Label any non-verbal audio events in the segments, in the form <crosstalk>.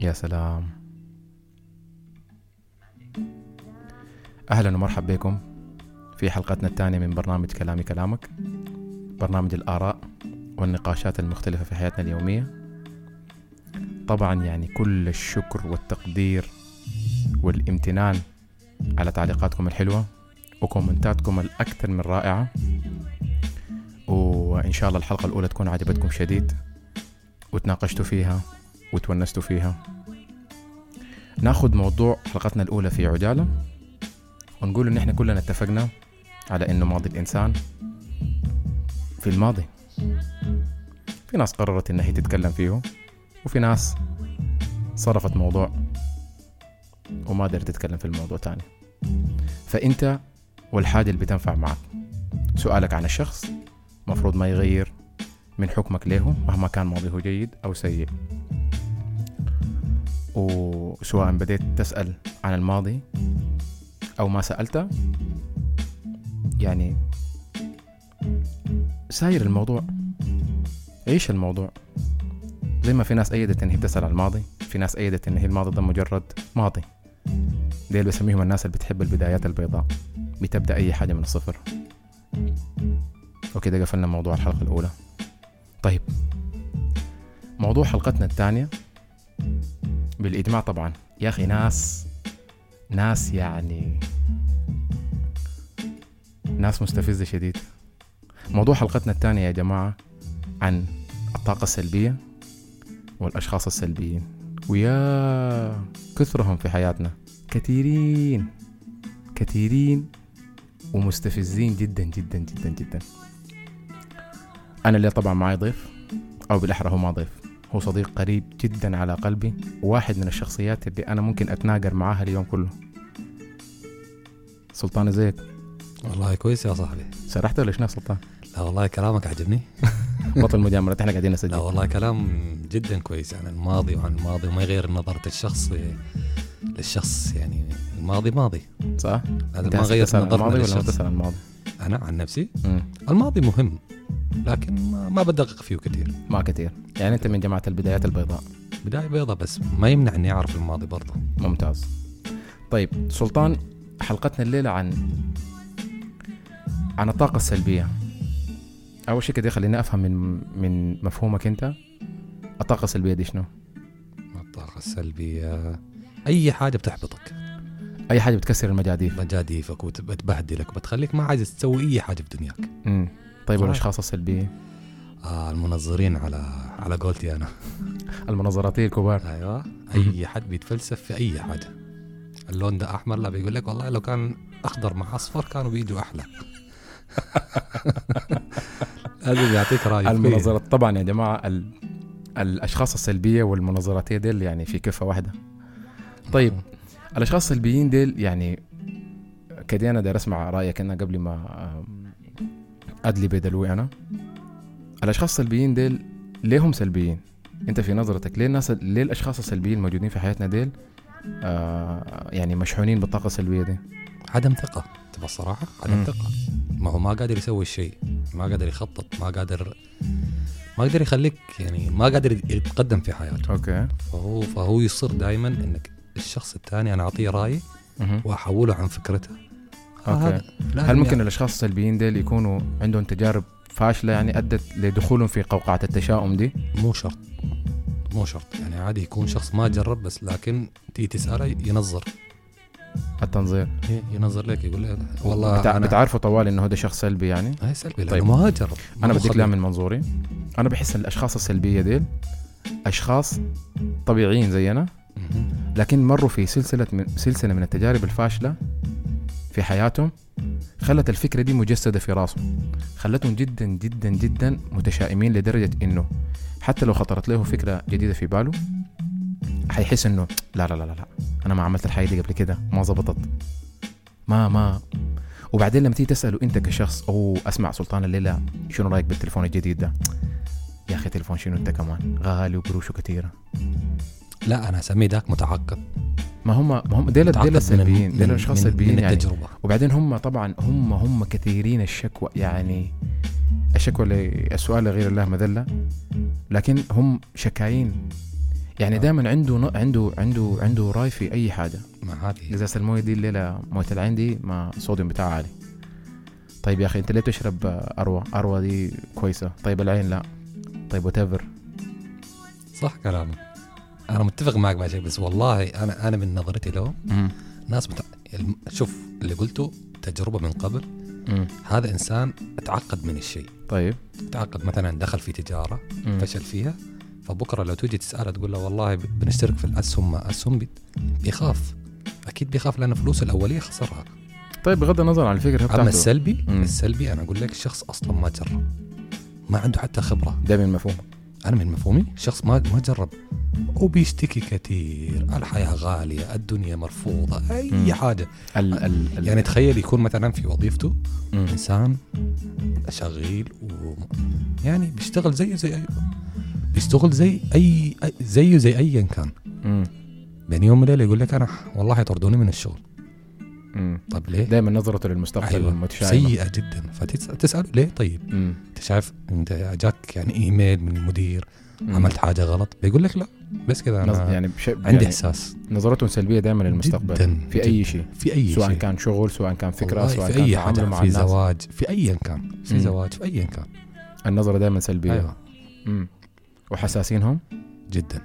يا سلام أهلا ومرحبا بكم في حلقتنا الثانية من برنامج كلامي كلامك برنامج الآراء والنقاشات المختلفة في حياتنا اليومية طبعا يعني كل الشكر والتقدير والامتنان على تعليقاتكم الحلوة وكومنتاتكم الأكثر من رائعة وإن شاء الله الحلقة الأولى تكون عجبتكم شديد وتناقشتوا فيها وتونستوا فيها ناخد موضوع حلقتنا الأولى في عجالة ونقول إن إحنا كلنا اتفقنا على إنه ماضي الإنسان في الماضي في ناس قررت إن هي تتكلم فيه وفي ناس صرفت موضوع وما قدرت تتكلم في الموضوع تاني فأنت والحاجة اللي بتنفع معك سؤالك عن الشخص مفروض ما يغير من حكمك له مهما كان ماضيه جيد أو سيء وسواء بديت تسأل عن الماضي أو ما سألته يعني ساير الموضوع عيش الموضوع زي ما في ناس أيدت إن هي بتسأل عن الماضي في ناس أيدت إن هي الماضي ده مجرد ماضي ديل بسميهم الناس اللي بتحب البدايات البيضاء بتبدأ أي حاجة من الصفر وكده قفلنا موضوع الحلقة الأولى طيب موضوع حلقتنا الثانية بالإجماع طبعا يا أخي ناس ناس يعني ناس مستفزة شديد موضوع حلقتنا الثانية يا جماعة عن الطاقة السلبية والأشخاص السلبيين ويا كثرهم في حياتنا كثيرين كثيرين ومستفزين جدا جدا جدا جدا أنا اللي طبعا معي ضيف أو بالأحرى هو ما ضيف هو صديق قريب جدا على قلبي واحد من الشخصيات اللي أنا ممكن أتناقر معاها اليوم كله سلطان زيك والله كويس يا صاحبي سرحت ولا شنو <laughs> سلطان؟ لا والله كلامك عجبني بطل مجاملة احنا قاعدين لا نسجل والله كلام جدا كويس عن الماضي وعن الماضي وما يغير نظرة الشخص للشخص يعني الماضي ماضي صح؟ هذا انت ما غير تسأل عن نظرنا الماضي ولا ما للشخص تسأل عن الماضي؟ أنا عن نفسي مم. الماضي مهم لكن ما- ما بدقق فيه كثير ما كثير يعني أنت من جماعة البدايات البيضاء بداية بيضة بس ما يمنع إني أعرف الماضي برضه ممتاز طيب سلطان حلقتنا الليلة عن عن الطاقة السلبية أول شيء كده خليني أفهم من من مفهومك أنت الطاقة السلبية دي شنو؟ الطاقة السلبية أي حاجة بتحبطك أي حاجة بتكسر المجاديف مجاديفك وبتبهدلك وبتخليك ما عايز تسوي أي حاجة في دنياك امم طيب صح. والأشخاص السلبية آه المنظرين على على قولتي أنا المناظراتية الكبار ايوه اي حد بيتفلسف في اي حاجه اللون ده احمر لا بيقول لك والله لو كان اخضر مع اصفر كانوا <laughs> بيجوا احلى لازم يعطيك رايه فيه. المناظرات طبعا يا جماعة ال... الأشخاص السلبية والمناظراتية ديل يعني في كفة واحدة طيب الاشخاص السلبيين ديل يعني كدي انا داير اسمع رايك انا قبل ما آم، ادلي بدلوي انا الاشخاص السلبيين ديل ليه هم سلبيين انت في نظرتك ليه الناس ليه الاشخاص السلبيين الموجودين في حياتنا ديل آه يعني مشحونين بالطاقه السلبيه دي عدم ثقه تبغى الصراحه عدم مم. ثقه ما هو ما قادر يسوي الشيء ما قادر يخطط ما قادر ما قادر يخليك يعني ما قادر يتقدم في حياته اوكي فهو فهو يصر دائما انك الشخص الثاني انا اعطيه رايي مهم. واحوله عن فكرته أوكي. لازم هل ممكن يع- الاشخاص السلبيين ديل يكونوا عندهم تجارب فاشله يعني ادت لدخولهم في قوقعه التشاؤم دي مو شرط مو شرط يعني عادي يكون شخص ما جرب بس لكن تيجي تساله ينظر إيه، التنظير ينظر لك يقول لك والله بتع... بتاع انا بتعرفوا طوال انه هذا شخص سلبي يعني هاي سلبي طيب. طيب ما جرب ما انا هو بديك خبير. لها من منظوري انا بحس ان الاشخاص السلبيه ديل اشخاص طبيعيين زينا مهم. لكن مروا في سلسله من سلسله من التجارب الفاشله في حياتهم خلت الفكره دي مجسده في راسهم خلتهم جدا جدا جدا متشائمين لدرجه انه حتى لو خطرت له فكره جديده في باله حيحس انه لا لا لا لا, لا. انا ما عملت الحاجه دي قبل كده ما زبطت ما ما وبعدين لما تيجي تساله انت كشخص او اسمع سلطان الليله شنو رايك بالتليفون الجديد ده يا اخي تليفون شنو انت كمان غالي وقروشه كثيره لا انا اسميه ذاك متعقد ما هم ما هم ديل متعقد ديل من- السلبيين من- ديل الاشخاص من- السلبيين من يعني التجربه وبعدين هم طبعا هم هم كثيرين الشكوى يعني الشكوى ل- السؤال لغير الله مذله لكن هم شكايين يعني آه. دائما عنده ن- عنده عنده عنده راي في اي حاجه ما هذه ازازه المويه دي الليله مويه العين دي ما الصوديوم بتاعها عالي طيب يا اخي انت ليه تشرب اروى اروى دي كويسه طيب العين لا طيب وتفر صح كلامك انا متفق معك مع شيء بس والله انا انا من نظرتي له ناس متع... الم- شوف اللي قلته تجربه من قبل هذا انسان اتعقد من الشيء طيب اتعقد مثلا دخل في تجاره مم. فشل فيها فبكره لو تجي تساله تقول له والله ب- بنشترك في الاسهم ما اسهم بي- بيخاف اكيد بيخاف لان فلوسه الاوليه خسرها طيب بغض النظر عن الفكره اما بتاعته السلبي مم. السلبي انا اقول لك الشخص اصلا ما جرب ما عنده حتى خبره ده من مفهوم انا من مفهومي شخص ما ما جرب وبيشتكي كثير الحياه غاليه الدنيا مرفوضه اي مم. حاجه ال ال ال يعني تخيل يكون مثلا في وظيفته مم. انسان شغيل و يعني بيشتغل زيه زي أي... بيشتغل زي اي أي- زيه زي ايا كان مم. بين يوم وليله يقول لك انا ح- والله يطردوني من الشغل مم. طب ليه؟ دايما نظرته للمستقبل أيوة. متشائمه سيئه جدا فتساله ليه طيب؟ مم. انت شايف انت جاك يعني ايميل من المدير مم. عملت حاجه غلط بيقول لك لا بس كذا نظ... انا يعني بش... عندي عندي احساس نظرته سلبيه دائما للمستقبل جدا في اي شيء في اي سواء شيء. كان شغل سواء كان فكره والله سواء في كان اي حاجه تعامله مع في الناس زواج في ايا كان في مم. زواج في ايا كان النظره دائما سلبيه ايوه مم. وحساسينهم جدا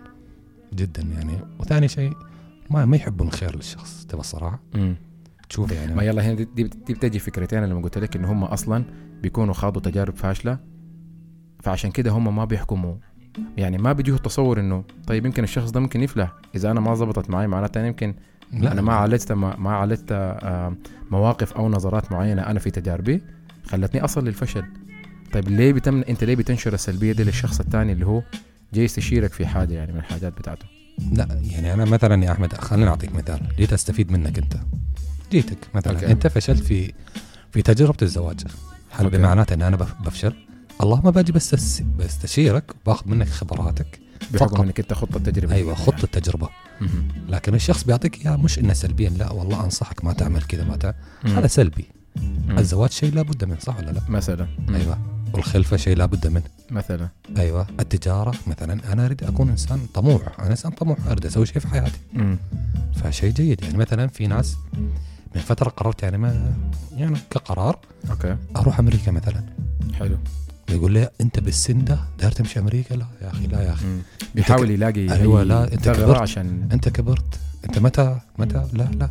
جدا يعني وثاني شيء ما ما يحبون الخير للشخص تبى الصراحه مم. تشوف يعني ما يلا هنا دي, دي, دي بتجي فكرتين لما قلت لك ان هم اصلا بيكونوا خاضوا تجارب فاشله فعشان كده هم ما بيحكموا يعني ما بيجوه التصور انه طيب يمكن الشخص ده ممكن يفلح اذا انا ما ظبطت معي معناتها أنا يمكن لا انا ما عالجت ما ما عالجت آه، مواقف او نظرات معينه انا في تجاربي خلتني اصل للفشل طيب ليه بتم انت ليه بتنشر السلبيه دي للشخص الثاني اللي هو جاي يستشيرك في حاجه يعني من الحاجات بتاعته لا يعني انا مثلا يا احمد خليني اعطيك مثال جيت استفيد منك انت جيتك مثلا أوكي. أوكي. انت فشلت في في تجربه الزواج هل أوكي. بمعناته ان انا بف- بفشل اللهم باجي بس بستشيرك باخذ منك خبراتك فقط. بحكم انك انت خطه تجربه ايوه خط التجربه يعني. مهم. لكن الشخص بيعطيك اياها مش انه سلبيا لا والله انصحك ما تعمل كذا ما تعمل مم. هذا سلبي مم. الزواج شيء لابد منه صح ولا لا؟ مثلا مم. ايوه والخلفه شيء لابد منه مثلا ايوه التجاره مثلا انا اريد اكون انسان طموح انا انسان طموح اريد اسوي شيء في حياتي مم. فشيء جيد يعني مثلا في ناس من فتره قررت يعني ما يعني كقرار اوكي اروح امريكا مثلا حلو يقول لي انت بالسن ده داير تمشي امريكا لا يا اخي لا يا اخي بيحاول يلاقي أيوة، لا، أنت ثغرة كبرت. عشان انت كبرت انت متى متى لا لا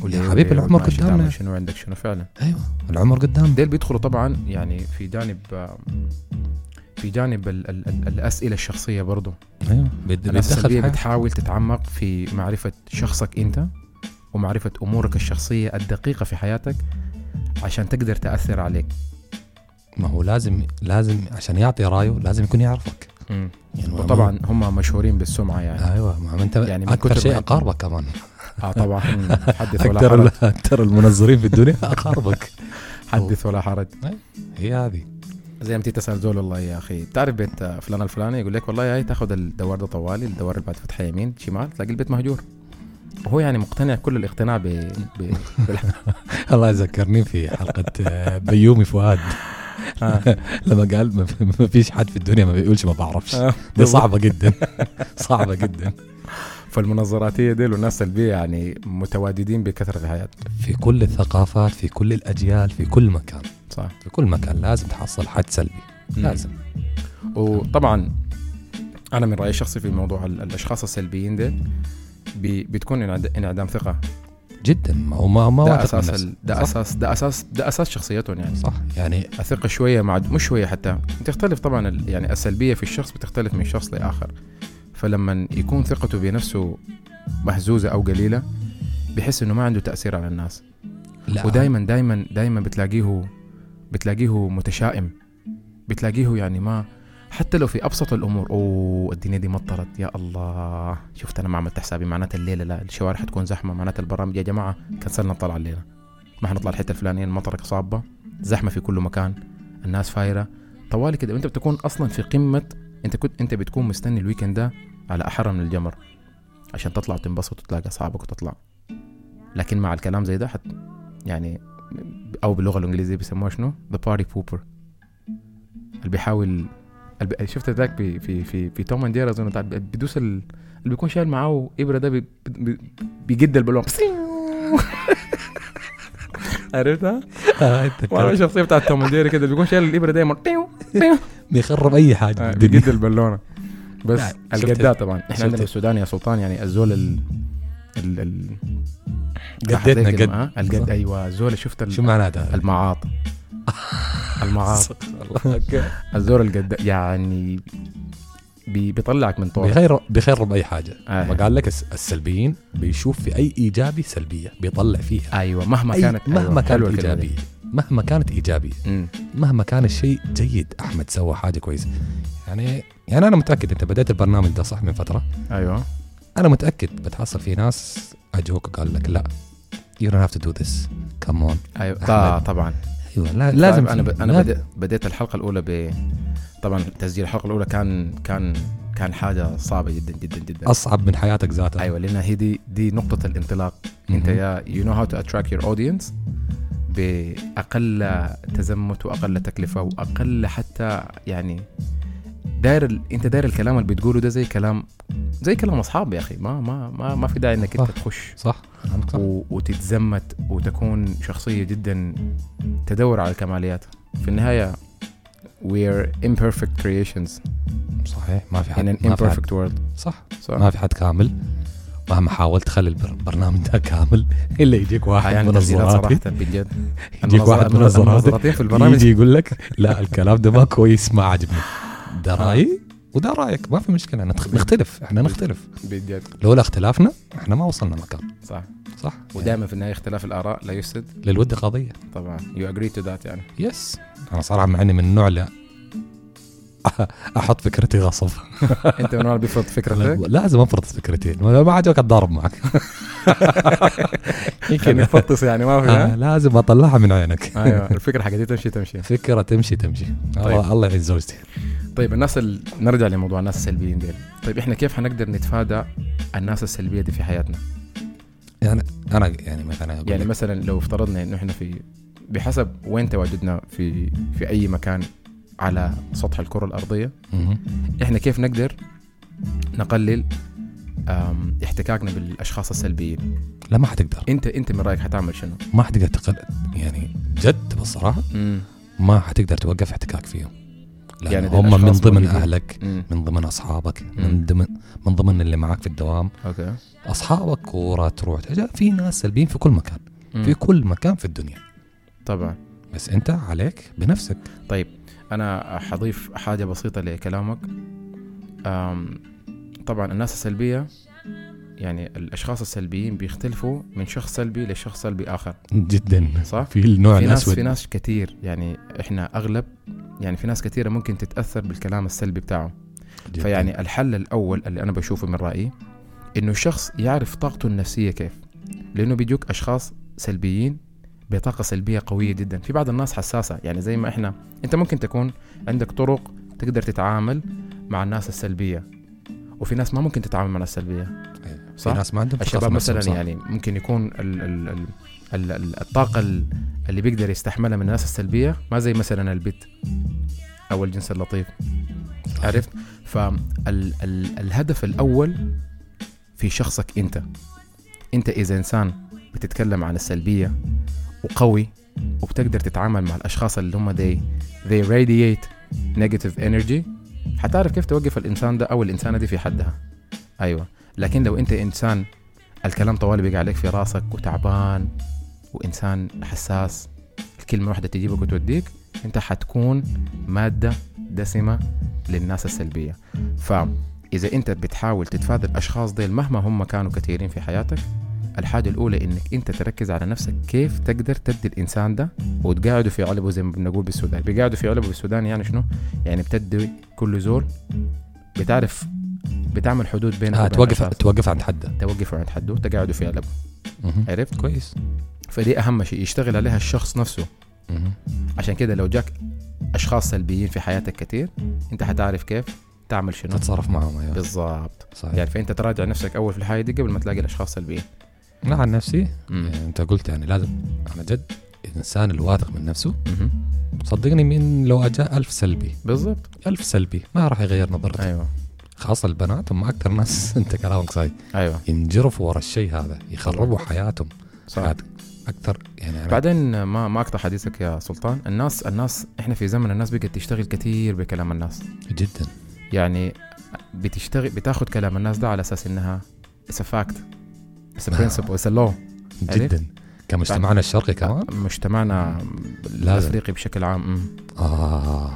واللي- يا حبيبي واللي العمر ماشي قدامنا. تعمل شنو إيه، عندك شنو فعلا ايوه العمر قدام ديل بيدخلوا طبعا يعني في جانب آه، في جانب ال ال ال الاسئله الشخصيه برضو ايوه بيد- الناس بيتدخل السلبيه في حياتك. بتحاول تتعمق في معرفه شخصك انت ومعرفه امورك الشخصيه الدقيقه في حياتك عشان تقدر تاثر عليك ما هو لازم لازم عشان يعطي رايه لازم يكون يعرفك يعني ما- وطبعا هم مشهورين بالسمعه يعني ايوه ما انت يعني يعني من اكثر كتر شيء ما- اقاربك كمان اه <laughs> طبعا حدث ولا اكثر حرج اكثر المنظرين في <laughs> الدنيا اقاربك حدث ولا حرج هي هذه زي ما تيجي تسال زول والله يا اخي تعرف بيت فلان الفلاني يقول لك والله يا تاخذ الدوار ده طوالي الدوار اللي بعد فتحه يمين شمال تلاقي البيت مهجور وهو يعني مقتنع كل الاقتناع ب ب- <laughs> الله يذكرني في حلقه آه، بيومي فؤاد آه. <laughs> لما قال ما في- ما فيش حد في الدنيا ما بيقولش ما بعرفش دي صعبه جدا <laughs> صعبه جدا فالمنظراتيه دي والناس سلبيه يعني متواجدين بكثره في حياتنا في كل الثقافات في كل الاجيال في كل مكان صح في كل مكان لازم تحصل حد سلبي لازم وطبعا انا من رايي الشخصي في موضوع ال- الاشخاص السلبيين دي بي- بتكون انعد- انعدام ثقه جدا ما هو ما ما ده واثق من اساس نفسه. ال- ده صح؟ اساس ده اساس ده اساس شخصيتهم يعني صح يعني الثقة شوية مع مش شوية حتى بتختلف طبعا ال- يعني السلبية في الشخص بتختلف من شخص لآخر فلما يكون ثقته بنفسه مهزوزة أو قليلة بحس إنه ما عنده تأثير على الناس لا ودايما دايما دايما بتلاقيه بتلاقيه متشائم بتلاقيه يعني ما حتى لو في ابسط الامور اوه الدنيا دي مطرت يا الله شفت انا ما عملت حسابي معناتها الليله لا الشوارع حتكون زحمه معناتها البرامج يا جماعه كنسلنا الطلعه الليله ما حنطلع الحته الفلانيه المطره صعبه زحمه في كل مكان الناس فايره طوالي كده انت بتكون اصلا في قمه انت كنت انت بتكون مستني الويكند ده على احر من الجمر عشان تطلع وتنبسط وتلاقي اصحابك وتطلع لكن مع الكلام زي ده حت يعني او باللغه الانجليزيه بيسموها شنو؟ ذا بارتي بوبر اللي بيحاول الب- شفت ذاك في في في, في توم اند جيري اظن بتاع- بيدوس ال- اللي بيكون شايل معاه ابره ده بي- بي- بي- بيجد البالون <laughs> عرفتها؟ آه، وعارف أتذكر. الشخصيه بتاعت توم ديري كده اللي بيكون شايل الابره دايما تيو، <laughs> تيو. بيخرب اي حاجه في آه، الدنيا بيجد البالونه بس لا، شفت الجدات طبعا شفت احنا عندنا ال- في السودان يا سلطان يعني الزول ال ال ال قديتنا زي كده، قد آه، القد صح. ايوه الزول شفت ال- شو معناتها هذه؟ المعاط <laughs> المعاط الزور القد يعني بي بيطلعك من طور بيخير بيخرب اي حاجه آه. ما قال لك الس- السلبيين بيشوف في اي ايجابي سلبيه بيطلع فيها ايوه مهما أي- كانت مهما أيوة. كانت حلوة الكلمة دي. ايجابيه مهما كانت ايجابيه أمم. مهما كان الشيء جيد احمد سوى حاجه كويسه يعني يعني انا متاكد انت بدات البرنامج ده صح من فتره ايوه انا متاكد بتحصل في ناس اجوك قال لك لا يو دونت هاف تو دو ذس كم اون ايوه أيوة، أحمد. طبعا طبعا ايوه لا لازم انا طيب، ب... انا لازم- بدأ... بديت الحلقه الاولى ب طبعا تسجيل الحلقه الاولى كان كان كان حاجه صعبه جدا جدا جدا اصعب من حياتك ذاتها ايوه لان هي دي دي نقطه الانطلاق مهم. انت يا يو نو هاو تو اتراك يور اودينس باقل تزمت واقل تكلفه واقل حتى يعني داير ال... انت داير الكلام اللي بتقوله ده زي كلام زي كلام اصحاب يا اخي ما ما ما, ما في داعي انك انت صح. تخش صح عندك صح و... وتتزمت وتكون شخصيه جدا تدور على الكماليات في النهايه we are imperfect creations صحيح ما في in حد an ما في حد imperfect world صح صح ما في حد كامل مهما حاولت تخلي البر- البرنامج ده كامل <laughs> الا يجيك واحد يعني من تسجيلات صراحه الزرافه بجد يجيك واحد من الزرافه النظراتين في البرامج يجي يقول لك لا الكلام ده ما كويس ما عجبني ده رايي وده رايك ما في مشكله أنا نتخ- نختلف احنا نختلف بجد لولا اختلافنا احنا ما وصلنا مكان صح صح ودائما في النهايه اختلاف الاراء لا يفسد يعني للود قضيه طبعا يو اجري تو ذات يعني يس انا صراحه مع اني من النوع <laughs> لا احط فكرتي غصب انت من النوع اللي بيفرض فكرتك لازم افرض فكرتي لو ما عجبك اتضارب معك <laughs> يمكن يفطس يعني ما في آه <laughs> ها؟ لازم اطلعها من عينك ايوه الفكره حقتي تمشي تمشي فكره تمشي تمشي الله الله يعز زوجتي طيب الناس ال... نرجع لموضوع الناس السلبيين ديل طيب احنا كيف حنقدر نتفادى الناس السلبيه دي في حياتنا يعني انا يعني مثلا أقول يعني لك مثلا لو افترضنا انه احنا في بحسب وين تواجدنا في في اي مكان على سطح الكره الارضيه مهم. احنا كيف نقدر نقلل آم، احتكاكنا بالاشخاص السلبيين لا ما حتقدر انت انت من رايك حتعمل شنو ما حتقدر تقل يعني جد بصراحه امم ما حتقدر توقف احتكاك فيهم لأن يعني يعني دي هم من الأشخاص ضمن موجودين. اهلك امم من ضمن اصحابك من ضمن من ضمن اللي معاك في الدوام اوكي اصحابك كوره تروح ترجع في ناس سلبيين في كل مكان مم. في كل مكان في الدنيا طبعا بس انت عليك بنفسك انا حضيف حاجه بسيطه لكلامك أم، طبعا الناس السلبيه يعني الاشخاص السلبيين بيختلفوا من شخص سلبي لشخص سلبي اخر جدا صح في النوع في ناس الاسود في ناس كتير يعني احنا اغلب يعني في ناس كتيره ممكن تتاثر بالكلام السلبي بتاعه جداً. فيعني الحل الاول اللي انا بشوفه من رايي انه الشخص يعرف طاقته النفسيه كيف لانه بيجوك اشخاص سلبيين بطاقه سلبيه قويه جدا في بعض الناس حساسه يعني زي ما احنا انت ممكن تكون عندك طرق تقدر تتعامل مع الناس السلبيه وفي ناس ما ممكن تتعامل مع الناس السلبيه أيوة. صح؟ في ناس ما عندهم ثقة في الشباب نفسهم، مثلا صح. يعني ممكن يكون ال ال ال ال ال الطاقه ال- اللي بيقدر يستحملها من الناس السلبيه ما زي مثلا البت او الجنس اللطيف عرفت فالهدف الاول في شخصك انت انت اذا انسان بتتكلم عن السلبيه وقوي وبتقدر تتعامل مع الاشخاص اللي هم they they radiate negative energy حتعرف كيف توقف الانسان ده او الانسانه دي في حدها ايوه لكن لو انت انسان الكلام طوال بيقع عليك في راسك وتعبان وانسان حساس الكلمه واحده تجيبك وتوديك انت حتكون ماده دسمه للناس السلبيه فاذا انت بتحاول تتفادى الاشخاص ديل مهما هم كانوا كثيرين في حياتك الحاجة الأولى إنك أنت تركز على نفسك كيف تقدر تدي الإنسان ده وتقعده في علبه زي ما بنقول بالسودان، بيقعده في علبه بالسودان يعني شنو؟ يعني بتدي كل زول بتعرف بتعمل حدود بينك آه وبين توقف الأشخاص. توقف عند حده توقفوا عند حده تقعدوا في علبه مهم. عرفت؟ كويس فدي أهم شيء يشتغل عليها الشخص نفسه مهم. عشان كده لو جاك أشخاص سلبيين في حياتك كتير أنت حتعرف كيف تعمل شنو تتصرف معهم ايوه بالظبط صحيح يعني فأنت تراجع نفسك أول في الحاجة دي قبل ما تلاقي الأشخاص سلبيين لا عن نفسي مم. يعني انت قلت يعني لازم انا جد الانسان الواثق من نفسه مهم. صدقني من لو اجى ألف سلبي بالظبط ألف سلبي ما راح يغير نظرته أيوه خاصه البنات هم اكثر ناس <laughs> انت كلامك صحيح ايوه ينجرفوا ورا الشيء هذا يخربوا حياتهم صح حيات- اكثر يعني أنا بعدين ما ما اقطع حديثك يا سلطان الناس الناس احنا في زمن الناس بقت تشتغل كثير بكلام الناس جدا يعني بتشتغل بتاخذ كلام الناس ده على اساس انها اتس فاكت اتس آه. برنسبل اتس لو جدا كمجتمعنا الشرقي كمان أه؟ مجتمعنا الافريقي بشكل عام مم. اه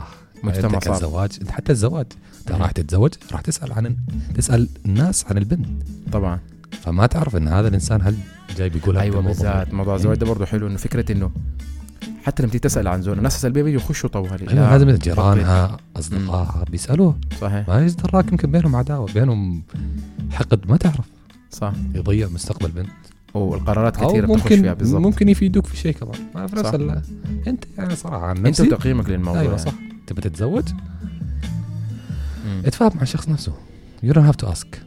مجتمع عندك صعب الزواج أنت حتى الزواج انت مم. راح تتزوج راح تسال عن تسال الناس عن البنت طبعا فما تعرف ان هذا الانسان هل جاي بيقول هذا ايوه الموضوع؟ بالذات موضوع الزواج ده برضه حلو انه فكره انه حتى لما تيجي تسال عن زول الناس السلبيه بيجوا يخشوا طوها لي ايوه لازم جيرانها اصدقائها بيسالوه صحيح ما ايش دراك يمكن بينهم عداوه بينهم حقد ما تعرف صح يضيع مستقبل بنت والقرارات او كثيره بتخش فيها ممكن بالضبط ممكن يفيدوك في شيء كمان ما في نفس صح. ال- انت يعني صراحه عن انت نفسي وتقييمك للموضوع ايوه يعني. صح تبي تتزوج مم. اتفاهم مع الشخص نفسه يو دونت هاف تو اسك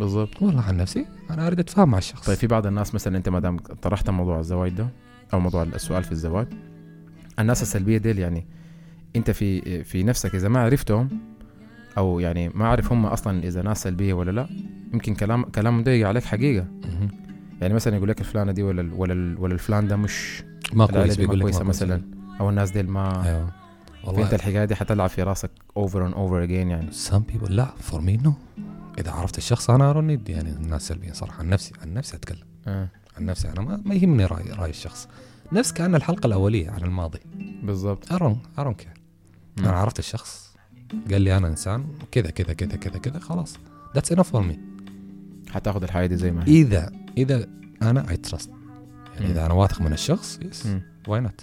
بالضبط والله عن نفسي انا اريد اتفاهم مع الشخص طيب في بعض الناس مثلا انت ما دام طرحت موضوع الزواج ده او موضوع السؤال في الزواج الناس السلبيه ديل يعني انت في في نفسك اذا ما عرفتهم او يعني ما اعرف هم اصلا اذا ناس سلبيه ولا لا يمكن كلام كلامهم ده يجي عليك حقيقه مهم. يعني مثلا يقول لك الفلانه دي ولا ال ولا ال ولا الفلان ده مش ما العيله كويس دي ما بيقول لك كويسه ما كويس. مثلا او الناس ديل ما ايوه انت والله الحكايه دي حتلعب في راسك اوفر اند اوفر اجين يعني سام بيبول لا فور مي نو اذا عرفت الشخص انا ارني يعني الناس سلبيين صراحه عن نفسي عن نفسي اتكلم آه عن نفسي انا ما, ما يهمني راي راي الشخص نفس كان الحلقه الاوليه عن الماضي بالضبط ارون ارون كير مم. انا عرفت الشخص قال لي انا انسان كذا كذا كذا كذا كذا خلاص ذاتس انف فور مي حتاخد الحياه دي زي ما هي اذا اذا انا اي تراست يعني مم. اذا انا واثق من الشخص يس مم. واي نوت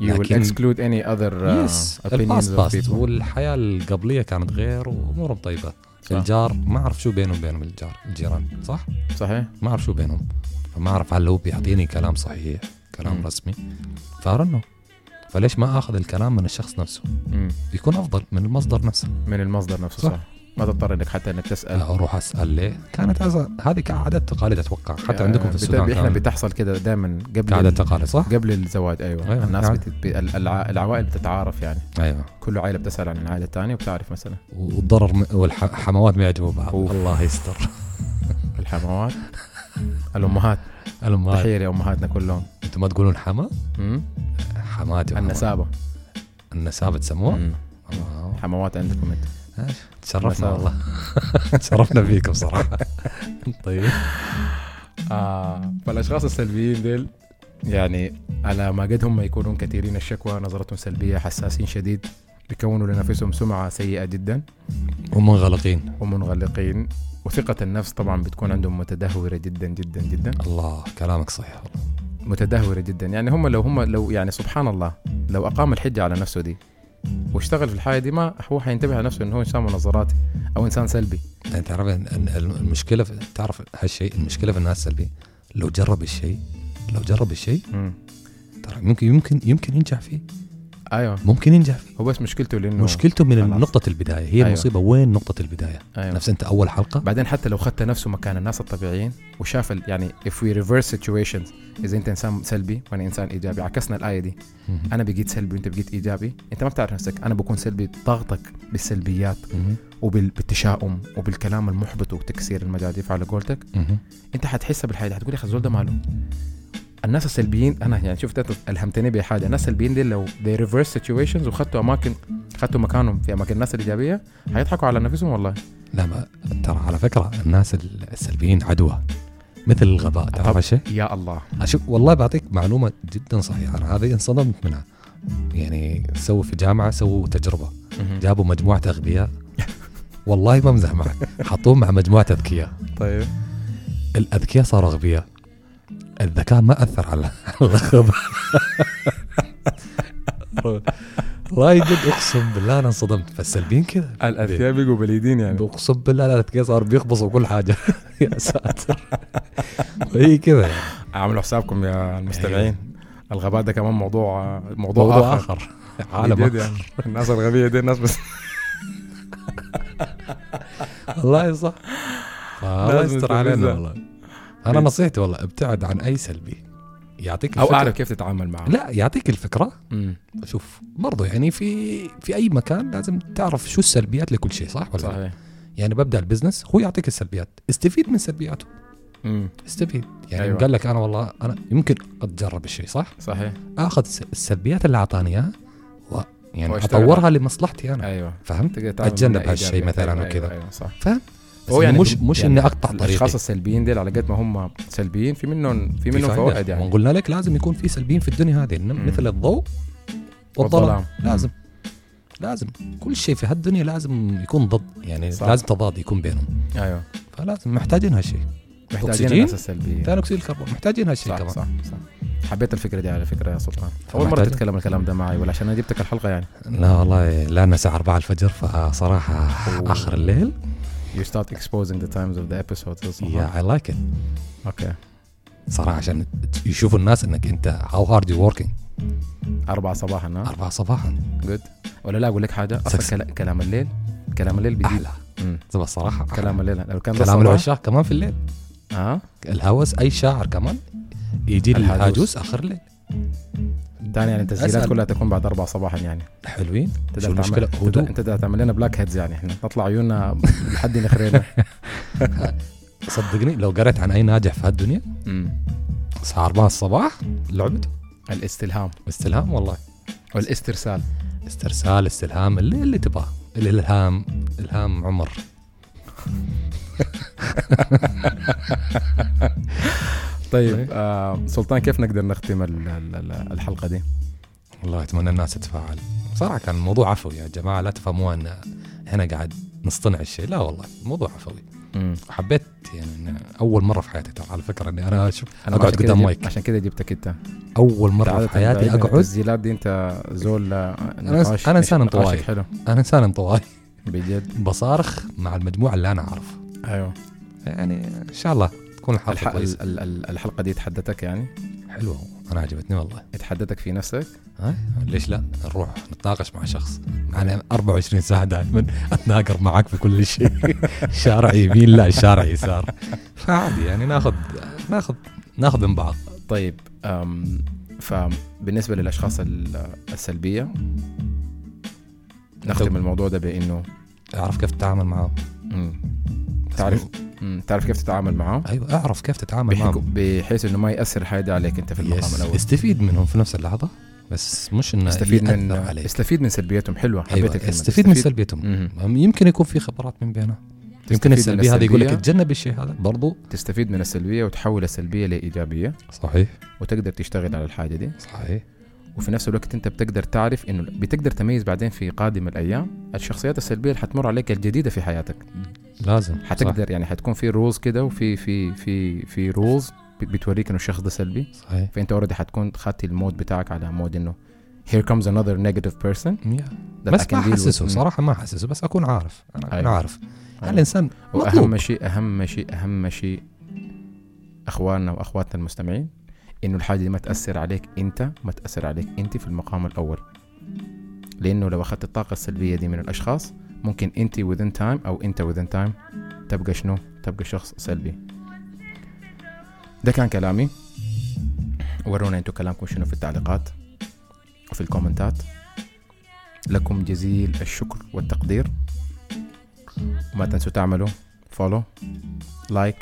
you will لكن- exclude any other uh, يس opinions الباس of باس people والحياه القبليه كانت غير وامورهم طيبه صح. الجار ما اعرف شو بينهم بينهم الجار الجيران صح؟ صحيح ما اعرف شو بينهم فما اعرف هل هو بيعطيني كلام صحيح كلام مم. م. رسمي فارنه فليش ما اخذ الكلام من الشخص نفسه؟ مم. بيكون افضل من المصدر نفسه من المصدر نفسه صح. صح, صح. ما تضطر انك حتى انك تسال لا اروح اسال ليه؟ كانت عز- هذه كعادات تقاليد اتوقع حتى آه، عندكم في بت- السودان احنا كان بتحصل كده دائما قبل كعادات ال- تقاليد صح؟ قبل الزواج ايوه, أيوة، الناس يعني. بت... ب- ال- الع... العوائل بتتعارف يعني ايوه كل عائله بتسال عن العائله الثانيه وبتعرف مثلا والضرر والحموات ما يعجبوا بعض أوف. الله يستر <laughs> الحموات الامهات الامهات تحيه لامهاتنا كلهم انتم ما تقولون حما؟ مم. حماتي وحماتي. النسابه النسابة تسموه؟ مم. آه. حموات عندكم انت تشرفنا النسابة. والله <laughs> تشرفنا فيكم <laughs> صراحة طيب آه فالاشخاص السلبيين ديل يعني على ما قد هم يكونون كثيرين الشكوى نظرتهم سلبيه حساسين شديد بيكونوا لنفسهم سمعه سيئه جدا ومنغلقين ومنغلقين وثقة النفس طبعا بتكون عندهم متدهورة جدا جدا جدا الله كلامك صحيح والله متدهورة جدا يعني هم لو هم لو يعني سبحان الله لو أقام الحجة على نفسه دي واشتغل في الحياة دي ما هو حينتبه على نفسه إنه هو إنسان منظراتي أو إنسان سلبي يعني تعرف إن- إن المشكلة في تعرف هالشيء المشكلة في الناس السلبية لو جرب الشيء لو جرب الشيء ترى ممكن يمكن يمكن ينجح فيه أيوه ممكن ينجح فيه هو بس مشكلته لأنه مشكلته من نعم. خلاص. نقطة البداية هي أيوة. المصيبة وين نقطة البداية أيوه. نفس انت اول حلقة بعدين حتى لو خدت نفسه مكان الناس الطبيعيين وشاف ال- يعني if we reverse situations إذا أنت إنسان سلبي وأنا إنسان إيجابي عكسنا الآية دي مهم. أنا بقيت سلبي وأنت بقيت إيجابي أنت ما بتعرف نفسك أنا بكون سلبي ضغطك بالسلبيات مهم. وبالتشاؤم وبالكلام المحبط وتكسير المجاديف على قولتك مهم. انت حتحس بالحاجه دي، حتقول يا اخي الزول ده ماله الناس السلبيين انا يعني شفت انت الهمتني بحاجه الناس السلبيين دي لو they reverse situations وخدتوا اماكن خدتوا مكانهم في اماكن الناس الايجابيه هيضحكوا على نفسهم والله لا ما ترى على فكرة الناس السلبيين عدوى مثل الغباء تعرف طب. هالشيء يا الله اشوف والله بعطيك معلومه جدا صحيحه انا هذه انصدمت منها يعني سووا في جامعه سووا تجربه جابوا مجموعه اغبياء والله ما امزح معك حطوهم مع مجموعه اذكياء طيب الاذكياء صاروا اغبياء الذكاء ما اثر على على الغباء والله جد اقسم بالله انا انصدمت فالسلبيين كذا الاذكياء بيجوا بليدين يعني اقسم بالله الاذكياء صاروا بيخبصوا كل حاجه يا ساتر هي كذا يعني. اعملوا حسابكم يا المستمعين الغباء ده كمان موضوع موضوع, موضوع موضوع اخر, اخر عالم جديد اخر يعني. الناس الغبيه دي الناس بس والله صح الله لازم إيه. يستر علينا تتنزه. والله انا نصيحتي والله ابتعد عن اي سلبي يعطيك او <laughs> الفكرة- اعرف كيف تتعامل معه لا يعطيك الفكره مم. شوف برضو يعني في في اي مكان لازم تعرف شو السلبيات لكل شيء صح ولا لا؟ صحيح يعني ببدا البزنس هو يعطيك السلبيات استفيد من سلبياته مم. استفيد يعني أيوة. أيوة. قال لك انا والله انا يمكن اتجرب الشيء صح صحيح اخذ الس- السلبيات اللي اعطاني اياها و- يعني وأشتغل. اطورها لمصلحتي انا ايوه فهمت تقدر تعمل أتجنب منها هالشيء إيجابيات. مثلاً أيوة، وكذا. أيوه أيوه صح فاهم بس هو يعني مش بم- مش يعني اني اقطع طريقي الاشخاص السلبيين ديل على قد ما هم سلبيين في منهم في في منهم فائدة. فوائد يعني وقلنا لك لازم يكون في سلبيين في الدنيا هذه مم. إنما مثل الضوء والظلام لازم لازم كل شيء في هالدنيا لازم يكون ضد يعني صح. صح. لازم تضاد يكون بينهم ايوه فلازم محتاجين هالشيء محتاجين أكسجين؟ الناس السلبيين ثاني اكسيد الكربون محتاجين هالشيء صح طيب، كمان صح صح حبيت الفكره دي على فكره يا سلطان اول مره فمحتاج- تتكلم الكلام ده معي ولا عشان انا جبتك الحلقه يعني لا والله لا انا الساعه 4 الفجر فصراحه أوه. اخر الليل you start exposing the times of the episodes يا سلطان يا اي لايك ات اوكي صراحه عشان يشوفوا الناس انك انت هاو هارد يو وركينج 4 صباحا ها 4 صباحا جود ولا لا اقول لك حاجه Success. اصلا كلا- كلام الليل كلام الليل بيجيب احلى مم. طب الصراحه أحلى. كلام الليل لو كان ده كلام الصباح العشاق كمان في الليل ها الهوس اي شاعر كمان يجي الهاجوس. الهاجوس اخر الليل تاني يعني التسجيلات أسأل. كلها تكون بعد 4 صباحا يعني حلوين انت شو ده تعمل- المشكله انت ده- هدوء انت ده تعمل لنا بلاك هيدز يعني احنا نطلع عيوننا لحد نخرينا <laughs> صدقني لو قرأت عن اي ناجح في هالدنيا مم. الساعه 4 الصباح لعبته الاستلهام استلهام والله والاسترسال استرسال استلهام اللي اللي تبغاه الالهام الهام عمر طيب آه سلطان كيف نقدر نختم ال- ال- ال- الحلقه دي؟ والله اتمنى الناس تتفاعل صراحه كان الموضوع عفوي يا جماعه لا تفهموا ان هنا قاعد نصطنع الشيء لا والله الموضوع عفوي مم. حبيت يعني إن اول مره في حياتي ترى على فكره اني انا اشوف أنا اقعد عشان كده قدام جيب- مايك عشان كده جبتك انت اول مره عادة في حياتي دايماً اقعد التسجيلات دي انت زول آه، نقاش- أنا إنسان نقاشك انطوائي. حلو انا انسان انطوائي بجد بصارخ مع المجموعه اللي انا اعرفها ايوه يعني ان شاء الله تكون الحلقه الح... كويسه ال- ال- ال- الحلقه دي تحدتك يعني حلوه انا عجبتني والله تحدتك في نفسك ها ليش لا نروح نتناقش مع شخص يعني انا 24 ساعه دائما اتناقر معك في كل شيء <laughs> شارع يمين لا شارع يسار فعادي يعني ناخذ ناخذ ناخذ من بعض طيب أم فبالنسبه للاشخاص ال- السلبيه نختم طب. الموضوع ده بانه اعرف كيف تتعامل معه مم، تعرف مم، تعرف كيف تتعامل معاه ايوه اعرف كيف تتعامل بحيك- معهم بحيث انه ما ياثر الحياه دي عليك انت في المقام يس. الاول استفيد منهم في نفس اللحظه بس مش انه استفيد من عليك استفيد من سلبيتهم حلوه حبيت ايوه الكلمة دي. استفيد من سلبيتهم مم. يمكن يكون في خبرات من بينها تستفيد يمكن من السلبيه هذا يقول لك السلبية. اتجنب الشيء هذا برضو تستفيد من السلبيه وتحول السلبيه لايجابيه صحيح وتقدر تشتغل على الحاجه دي صحيح وفي نفس الوقت انت بتقدر تعرف انه بتقدر تميز بعدين في قادم الايام الشخصيات السلبيه اللي حتمر عليك الجديده في حياتك لازم حتقدر يعني حتكون في رولز كده وفي في في في رولز بتوريك انه الشخص ده سلبي صح. صحيح فانت اوريدي حتكون خدت المود بتاعك على مود انه here comes another negative person يا. that I بس can ما deal with. احسسه مم. صراحه ما احسسه بس اكون عارف انا اكون أيوة. عارف أيوة. أيوة. الانسان واهم مطلوب شيء اهم شيء اهم شيء اخواننا واخواتنا المستمعين انه الحاجه دي ما تاثر عليك انت ما تاثر عليك انت في المقام الاول لانه لو اخذت الطاقه السلبيه دي من الاشخاص ممكن انت within time او انت within time تبقى شنو تبقى شخص سلبي ده كان كلامي ورونا انتوا كلامكم شنو في التعليقات وفي الكومنتات لكم جزيل الشكر والتقدير وما تنسوا تعملوا فولو لايك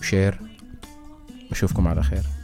وشير واشوفكم على خير